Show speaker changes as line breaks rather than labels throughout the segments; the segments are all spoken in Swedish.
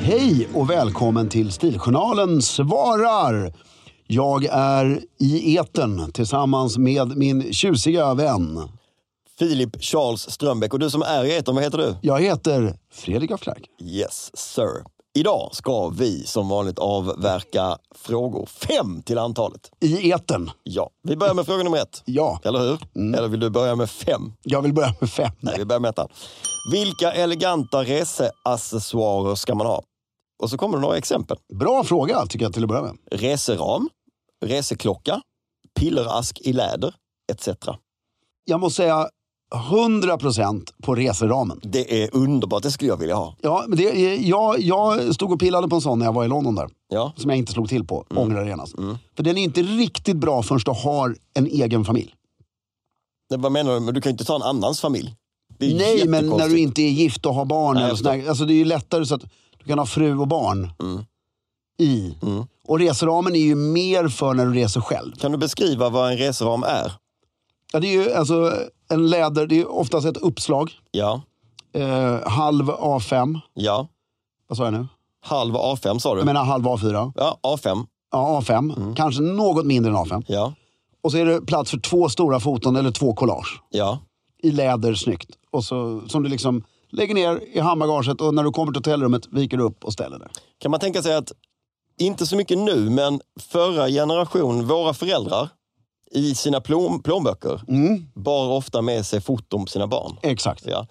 Hej och välkommen till Stiljournalen svarar. Jag är i etern tillsammans med min tjusiga vän.
Filip Charles Strömbäck och du som är i etern, vad heter du?
Jag heter Fredrik af Klerk.
Yes sir. Idag ska vi som vanligt avverka frågor. Fem till antalet.
I etern.
Ja, vi börjar med fråga nummer ett.
Ja, Mm.
Eller hur? Eller vill du börja med fem?
jag vill börja med fem.
Nej, vi börjar med ettan. Vilka eleganta reseaccessoarer ska man ha? Och så kommer det några exempel.
Bra fråga tycker jag till att börja med.
Reseram, reseklocka, pillerask i läder, etc.
Jag måste säga 100% på reseramen.
Det är underbart, det skulle jag vilja ha.
Ja, men det, jag, jag stod och pillade på en sån när jag var i London där.
Ja,
Som jag inte slog till på, ångrar genast. För den är inte riktigt bra förrän du har en egen familj.
Nej, vad menar du? Men du kan ju inte ta en annans familj. Det är
Nej, men när
jättekonstigt.
du inte är gift och har barn.
Nej,
eller
jag
sådär, alltså det är ju lättare så att du kan ha fru och barn
Mm.
i. Och reseramen är ju mer för när du reser själv.
Kan du beskriva vad en reseram är?
Ja, det är ju alltså en läder, det är ju oftast ett uppslag.
Ja,
Eh, halv A5,
ja.
vad sa jag nu?
Halv A5 sa du?
Jag menar halv A4.
Ja, A5.
Ja, A5.
Mm.
Kanske något mindre än A5.
Ja,
Och så är det plats för två stora foton eller två collage.
ja.
I läder, snyggt. Och så, som du liksom lägger ner i handbagaget och när du kommer till hotellrummet viker du upp och ställer det.
Kan man tänka sig att, inte så mycket nu, men förra generation, våra föräldrar, i sina plom, plånböcker
Mm.
bar ofta med sig foton på sina barn.
Exakt.
Ja.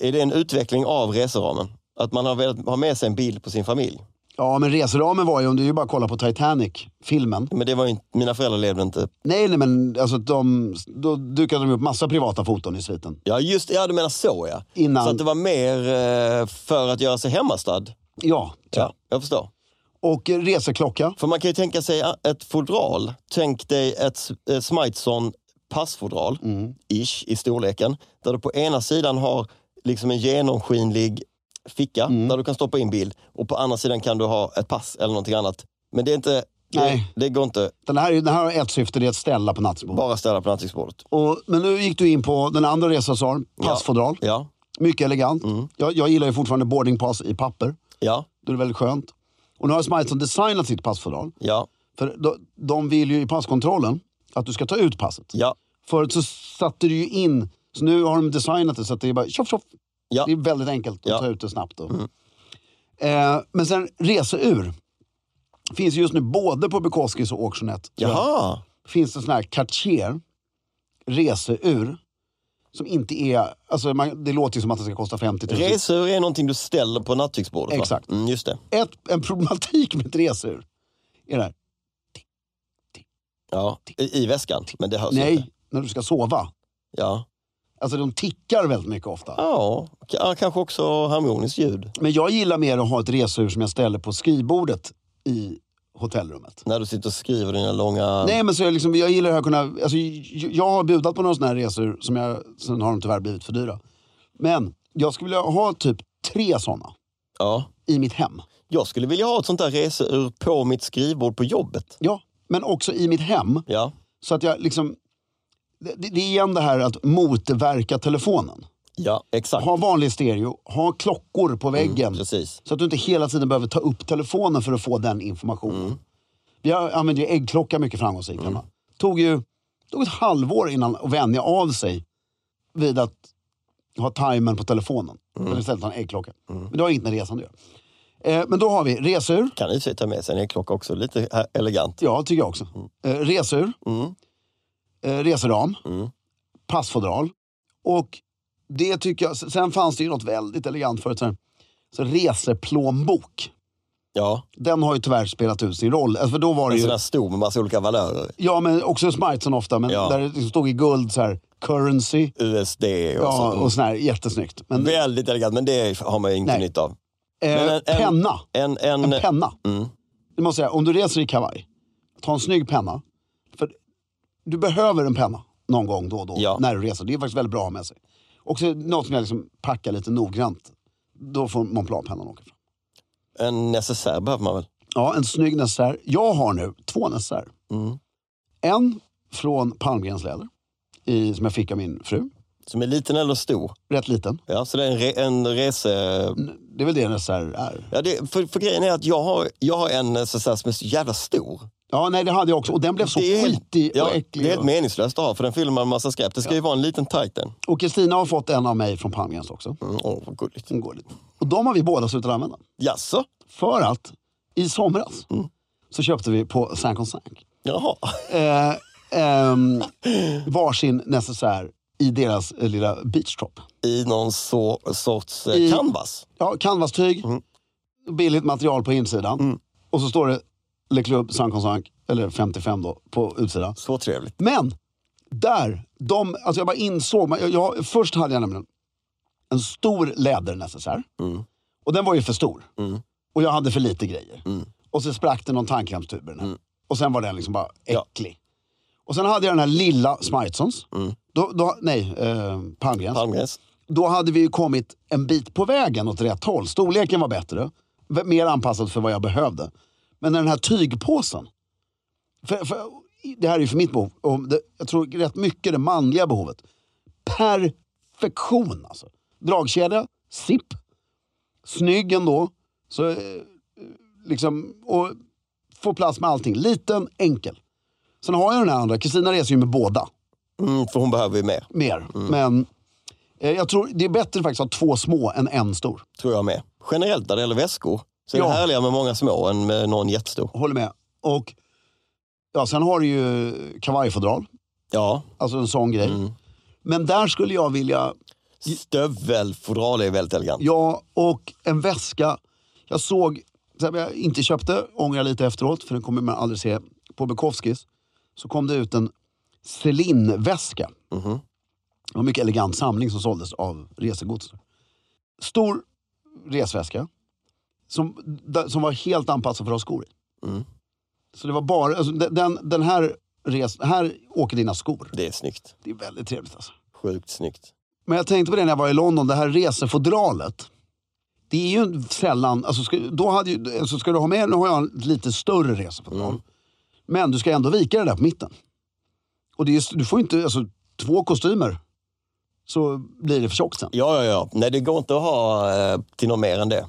Är det en utveckling av reseramen? Att man har velat ha med sig en bild på sin familj?
Ja, men reseramen var ju, om du ju bara kollar på Titanic-filmen.
Men det var ju inte, mina föräldrar levde inte...
Nej, nej, men alltså de, då dukade de upp massa privata foton i sviten.
Ja, just ja, du menar så ja.
Innan-
Så att det var mer eh, för att göra sig hemmastad.
Ja,
Ja, jag förstår.
och eh, reseklocka.
För man kan ju tänka sig ah, ett fodral. Tänk dig ett, S- ett Smithson passfodral,
Mm.
ish, i storleken. Där du på ena sidan har liksom en genomskinlig ficka
Mm.
där du kan stoppa in bild. Och på andra sidan kan du ha ett pass eller någonting annat. Men det är inte... Det,
Nej.
det går inte
Den här, är- den här har ett syfte, det är att ställa på nattbordet.
bara ställa på nattduksbordet.
Och, men nu gick du in på den andra reseassaren, passfodral.
Ja,
Mycket elegant. Jag, jag gillar ju fortfarande boardingpass i papper.
ja,
Det är väldigt skönt. Och nu har Smithson designat sitt passfodral.
ja,
För de, de vill ju i passkontrollen att du ska ta ut passet.
ja,
Förut så satte du ju in, så nu har de designat det så att det är bara tjoff tjoff.
Ja.
Det är väldigt enkelt att
Ja. Mm.
ta ut det snabbt. Då. Eh, men sen reseur. Finns just nu både på Bukowskis och Auctionet.
Jaha!
Finns det sån här Cartier reseur. Som inte är, alltså man, det låter ju som att den ska kosta 50 000.
Resor är någonting du ställer på nattduksbordet va?
Exakt.
Mm, just det.
Ett, en problematik med ett reseur. Är det här.
Ja. I, I väskan, men det hörs inte.
Nej, när du ska sova.
Ja.
Alltså de tickar väldigt mycket ofta.
Ja, k- ja, kanske också harmoniskt ljud
Men jag gillar mer att ha ett reseur som jag ställer på skrivbordet i hotellrummet.
när du sitter och skriver dina långa...
Nej, men så jag, liksom, jag gillar att kunna... Alltså, j- jag har budat på några såna här resor, som jag, sen har de tyvärr blivit för dyra. Men jag skulle vilja ha typ tre såna
Ja.
i mitt hem.
Jag skulle vilja ha ett sånt där reseur på mitt skrivbord på jobbet.
Ja, men också i mitt hem.
Ja,
Så att jag liksom... Det, det det är igen det här att motverka telefonen.
ja exakt.
Ha vanlig stereo, ha klockor på väggen.
Precis.
Så att du inte hela tiden behöver ta upp telefonen för att få den informationen.
Mm.
Vi har- använde ju äggklocka mycket framgångsrikt hemma. Tog ju tog ett halvår innan att vänja av sig vid att ha timern på telefonen.
Mm.
Eller istället ha en äggklocka. Men det har inget med resande att göra. Eh, men då har vi resur.
Kan i och för sig ta med sig en klocka också, lite här- elegant.
Ja, tycker jag också. Eh, resur.
Mm.
Eh, reseram.
Mm.
Passfodral. Och det tycker jag... Sen fanns det ju något väldigt elegant förut. Så här, så reseplånbok.
Ja,
den har ju tyvärr spelat ut sin roll. Alltså, för då var det
en
ju,
sån där stor med massa olika valörer.
ja, men också Smiteson ofta, men
Ja.
där det liksom stod i guld så här, currency
USD och
ja,
sånt.
och sån här, jättesnyggt. Men, eh,
Väldigt elegant, mm. men det har man ju inte
Nej.
nytta av.
eh,
men en- en-
penna,
En, en,
en penna.
Mm.
Du måste säga, om du reser i kavaj, ta en snygg penna. För du behöver en penna någon gång då och då
Ja.
när du reser. Det är faktiskt väldigt bra att ha med sig. Också något som jag liksom packar lite noggrant. Då får Montblanc-pennan åka fram.
en necessär behöver man väl?
Ja, en snygg necessär. Jag har nu två necessärer.
Mm.
En från Palmgrens läder, i, som jag fick av min fru.
Som är liten eller stor.
Rätt liten.
Ja, så det är en, re, en rese...
Det är väl det en necessär är.
Ja, det, för, för grejen är att jag har, jag har en necessär som är så jävla stor.
Ja, nej det hade jag också. Och den blev så
Det är helt-
skitig och
Ja, det
äcklig.
är helt meningslöst att ha, för den fyller man en massa skräp. Det ska ju vara en liten tight den.
Och Kristina har fått en av mig från Palmgrens också.
Mm, åh, vad gulligt.
Hon går lite. Och de har vi båda slutat använda.
Jaså?
För att i somras
Mm.
så köpte vi på Sank on Sank
Jaha.
eh, ehm, varsin necessär i deras eh, lilla beachtrop.
I någon så, sorts eh,
I-
canvas.
Ja, canvastyg,
Mm.
billigt material på insidan. Och så står det Le Club Sank on Sank, eller 55 då, på utsidan.
Så trevligt.
Men där, de, alltså jag bara insåg, man- jag, jag, först hade jag nämligen en stor lädernecessär.
Mm.
Och den var ju för stor.
Mm.
Och jag hade för lite grejer. Och så sprack det någon tandkrämstub i den
Mm.
här. Och sen var den liksom bara
Ja.
äcklig. Och sen hade jag den här lilla Smitesons.
Mm.
Då, då, nej, eh, Palmgrens.
Palmgräs.
Då hade vi ju kommit en bit på vägen åt rätt håll. Storleken var bättre. v- Mer anpassad för vad jag behövde. Men den här tygpåsen. För, för, det här är ju för mitt behov. Och det, jag tror rätt mycket det manliga behovet. Perfektion alltså. Dragkedja, sipp. Snygg ändå. Så, eh, liksom, och få plats med allting. Liten, enkel. Sen har jag den här andra. Kristina reser ju med båda
Mm, för hon behöver ju mer,
mer. Men eh, jag tror det är bättre faktiskt att ha två små än en stor.
tror jag med. Generellt när det gäller väskor så är
Ja.
det härligare med många små än med någon jättestor.
Håller med. Och ja, sen har du ju kavajfodral.
Ja.
Alltså en sån grej. Men där skulle jag vilja,
Stövelfodral är väldigt elegant.
ja och en väska. Jag såg, som jag inte köpte, ångrar jag lite efteråt för den kommer man aldrig se. På Bukowskis så kom det ut en Celine-väska. Det var en mycket elegant samling som såldes av resegods. Stor resväska. Som, där- som var helt anpassad för att ha skor i.
Mm.
Så det var bara, alltså, de- den, den här res, här åker dina skor.
Det är snyggt.
Det är väldigt trevligt alltså.
Sjukt snyggt.
Men jag tänkte på det när jag var i London, det här resefodralet. Det är ju sällan, alltså ska, då hade ju, alltså ska du ha med, nu har jag ett lite större resefodral. Men du ska ändå vika det där på mitten. Och det är, just- du får inte, alltså två kostymer så blir det för tjockt sen.
Ja, ja, ja. Nej, det går inte att ha eh, till något mer än det.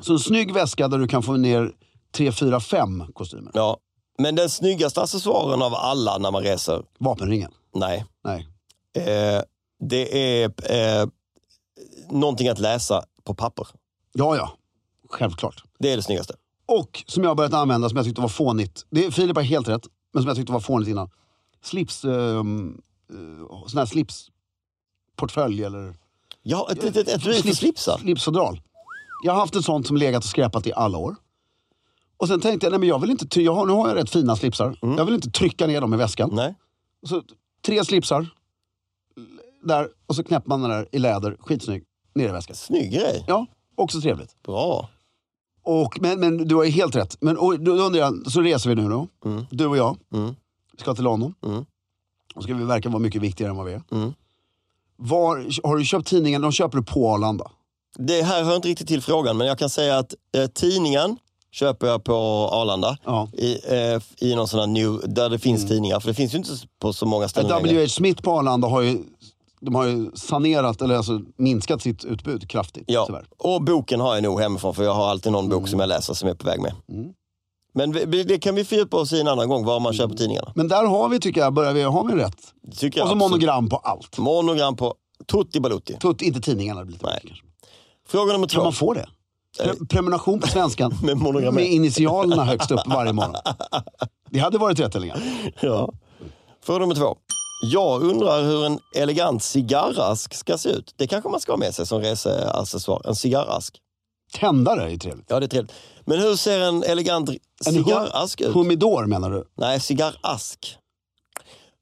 Så en snygg väska där du kan få ner tre, fyra, fem kostymer.
Ja. Men den snyggaste accessoaren av alla när man reser,
Vapenringen.
nej.
Nej.
Eh, det är eh, någonting att läsa på papper.
Ja, ja. Självklart.
Det är det snyggaste.
Och som jag har börjat använda, som jag tyckte var fånigt. Det, Filip har helt rätt, men som jag tyckte var fånigt innan. Slips... ehm, eh, sån här slipsportfölj eller...
Ja, ett litet ett, ett, slipsar.
Slipsfodral. Jag har haft ett sånt som legat och skräpat i alla år. Och sen tänkte jag, nej men jag vill inte... Ty- jag har, nu har jag rätt fina slipsar. Jag vill inte trycka ner dem i väskan.
Nej.
Och Så, tre slipsar. l- Där, och så knäpper man den där i läder, skitsnygg, ner i väskan.
Snygg grej.
Ja, också trevligt.
Bra.
Och, men, men du har ju helt rätt. Men och, då undrar jag, så reser vi nu då. Du och jag.
Mm.
Vi ska till London.
Mm.
Och ska vi verka vara mycket viktigare än vad vi är.
Mm.
Var, har du köpt tidningen? De köper du på Arlanda.
Det här hör inte riktigt till frågan, men jag kan säga att eh, tidningen köper jag på Arlanda.
Ja.
I, eh, I någon sån här new, där det
Mm.
finns tidningar, för det finns ju inte på så många ställen längre.
W.H. Smith på Arlanda har ju, de har ju sanerat, eller alltså minskat sitt utbud kraftigt.
Ja.
Tyvärr. Mm.
Och boken har jag nog hemifrån, för jag har alltid någon bok som jag läser som jag är på väg med. Men vi- vi, det kan vi fördjupa oss i en annan gång, var man köper tidningarna.
Men där har vi, tycker jag, börjar vi, har vi rätt?
Det Tycker jag
Mm. Och så
absolut.
monogram på allt.
Monogram på Tutti Balutti.
Tut, inte tidningarna. det blir lite
Nej.
mycket kanske.
Fråga nummer
Kan
två.
man få det? Pre- prenumeration på svenskan.
Med monogram.
med initialerna högst upp varje morgon. Det hade varit rätt eller
Ja. Fråga nummer två. Jag undrar hur en elegant cigarrask ska se ut. Det kanske man ska ha med sig som reseaccessoar. En cigarrask.
Tändare är ju trevligt.
Ja, det är trevligt. Men hur ser en elegant
En
cigarrask ut?
Humidor menar du?
Nej, cigarrask.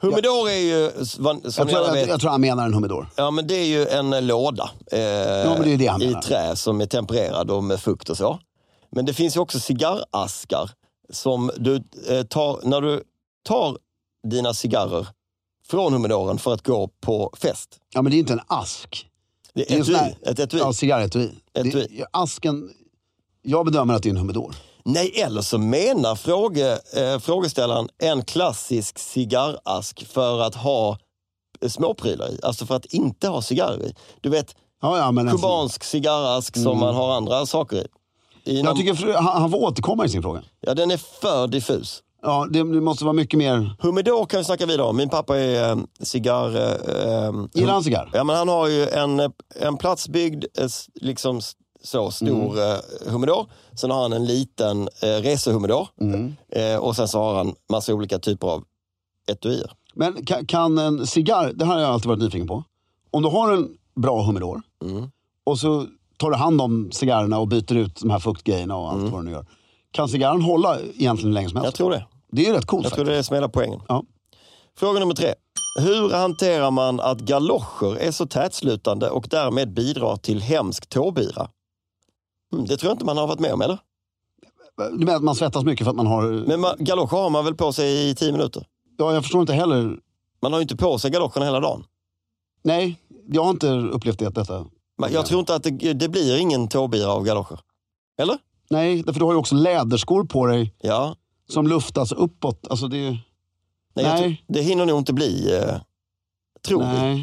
Humidor är ju, s- van- som
Jag
ni
tror,
alla
jag,
vet,
jag tror han menar en humidor.
ja, men det är ju en eh, låda eh,
men det är ju det han
i
menar.
trä som är tempererad och med fukt och så. Men det finns ju också cigarraskar som du eh, tar, när du tar dina cigarrer från humidoren för att gå på fest.
Ja, men det är inte en ask.
Det
Det är
är
en
etui,
sån här-
ett etui.
Ja, cigarretui.
Etui.
Det- Asken, jag bedömer att det är en humidor.
Nej, eller så menar fråge, eh, frågeställaren en klassisk cigarrask för att ha eh, småprylar i. Alltså för att inte ha cigarrer i. Du vet,
Ja, ja, men en sån-
kubansk cigarrask som man har andra saker i. Inom,
Mm. Jag tycker fru- han, han får återkomma i sin fråga.
Ja, den är för diffus.
Ja, det, det måste vara mycket mer...
Humidor kan vi snacka vidare om. Min pappa är eh, cigarr... Eh, eh,
Gillar han cigarr?
Ja, men han har ju en, eh, en platsbyggd, eh, s- liksom s- så stor mm. humidor. Sen har han en liten eh, resehumidor. Eh, och sen så har han massa olika typer av etuier.
Men kan, kan en cigarr, det här har jag alltid varit nyfiken på. Om du har en bra humidor
Mm.
och så tar du hand om cigarrerna och byter ut de här fuktgrejerna och allt vad du nu gör. Kan cigarren hålla egentligen hur länge som
Mm. Jag
helst?
tror det.
Det är ju rätt coolt
Jag tror det är det som är hela poängen.
Ja.
Fråga nummer tre. Hur hanterar man att galoscher är så tätslutande och därmed bidrar till hemsk tåbira? Mm, det tror jag inte man har varit med om, eller?
faktiskt. Du menar att man svettas mycket för att man har...
Men man, galoscher har man väl på sig i tio minuter?
Ja, jag förstår inte heller.
Man har ju inte på sig galoscherna hela dagen.
Nej, jag har inte upplevt det, detta.
Men jag tror inte att det, det blir ingen tåbira av galoscher. Eller?
Nej, därför du har ju också läderskor på dig
Ja.
som luftas uppåt. Alltså det... är-
Nej, jag
Nej.
tror- Det hinner nog inte bli, eh, tror vi.
Nej.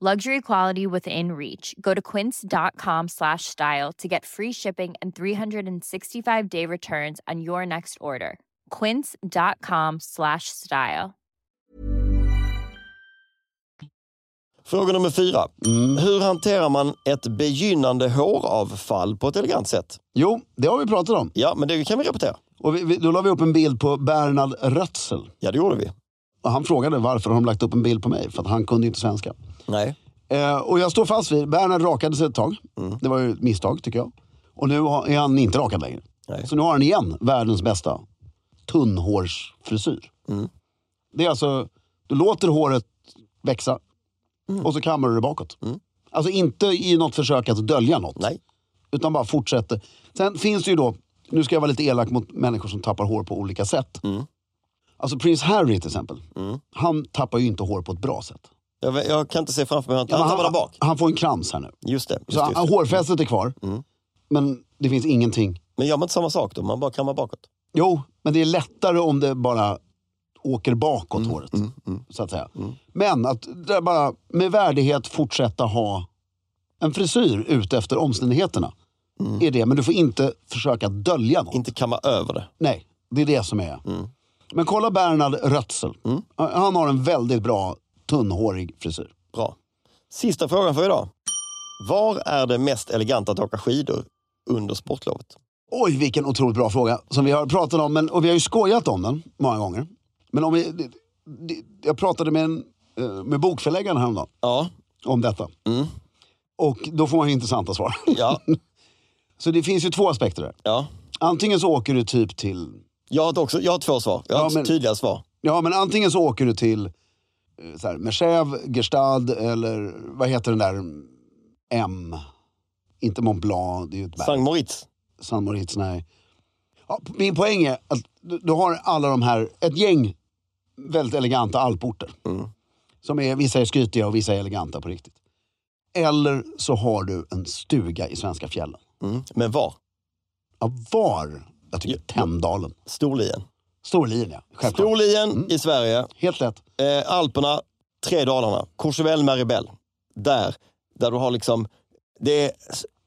Luxury quality within reach. Go to quince.com slash style to get free shipping and 365 day returns on your next order. Quince.com slash style.
Fråga nummer fyra.
Mm.
Hur hanterar man ett begynnande håravfall på ett elegant sätt?
Jo, det har vi pratat om.
Ja, men det kan vi repetera.
Och vi, vi, då la vi upp en bild på Bernhard Rötzl.
Ja, det gjorde vi.
Och han frågade varför har de lagt upp en bild på mig, för att han kunde ju inte svenska.
Nej.
Eh, och jag står fast vid, Bernhard rakade sig ett tag. Det var ju ett misstag tycker jag. Och nu har- är han inte rakad längre.
Nej.
Så nu har han igen världens bästa tunnhårsfrisyr. Det är alltså, du låter håret växa och så kammar du det bakåt. Alltså inte i något försök att dölja något.
Nej.
Utan bara fortsätter. Sen finns det ju då, nu ska jag vara lite elak mot människor som tappar hår på olika sätt.
Mm.
Alltså prins Harry till exempel, han tappar ju inte hår på ett bra sätt.
Jag, vet- jag kan inte se framför mig. Han han tappar där bak.
han får en krans här nu.
Just det. Just
Så
det, just
han,
det. Mm.
hårfästet är kvar, men det finns ingenting.
Men gör man inte samma sak då? Man bara kammar bakåt?
Jo, men det är lättare om det bara åker bakåt
Mm,
håret. Så att säga. Men att där bara med värdighet fortsätta ha en frisyr ut efter omständigheterna.
Mm.
Är det, men du får inte försöka dölja något.
Inte kamma över det.
Nej, det är det som är. Men kolla Bernhard Rötzl. Han har en väldigt bra tunnhårig frisyr.
Bra. Sista frågan för idag. Var är det mest elegant att åka skidor under sportlovet?
Oj, vilken otroligt bra fråga som vi har pratat om men, och vi har ju skojat om den många gånger. Men om vi, det- det- jag pratade med, en, eh, med bokförläggaren häromdagen
Ja,
om detta. Och då får man ju intressanta svar.
ja,
Så det finns ju två aspekter där.
ja.
Antingen så åker du typ till...
Jag har, också, jag har två svar. Jag har
Ja, men-
tydliga svar.
Ja, men antingen så åker du till eh, så här, Merchev, Gestad eller vad heter den där M? Inte Mont Blanc, det är ju ett berg.
Sankt Moritz.
San Moritz, nej. Ja, min poäng är att du, du har alla de här, ett gäng väldigt eleganta alporter. Som är, vissa är skrytiga och vissa är eleganta på riktigt. Eller så har du en stuga i svenska fjällen.
Mm. Men var?
Ja, var? Jag tycker Tänndalen.
Storlien.
Storlien ja, självklart. Mm.
Storlien i Sverige.
Helt lätt.
eh, Alperna, tre Dalarna, Courchevel, Maribel. Där, där du har liksom, det är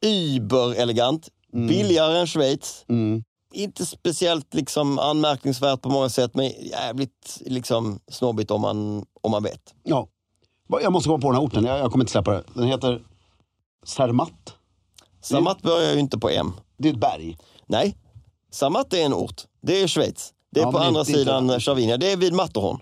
überelegant,
Mm.
billigare än Schweiz. Inte speciellt liksom anmärkningsvärt på många sätt, men jävligt liksom snobbigt om man, om man vet.
Ja. Va- Jag måste komma på den här orten, jag, jag kommer inte släppa det. Den heter Zermatt.
Samat
Mm.
börjar ju inte på M.
Det är ett berg.
Nej, Samat är en ort. Det är Schweiz. Det är
Ja,
på
men
andra
inte-
sidan
inte-
Cervinia. Det är vid Matterhorn.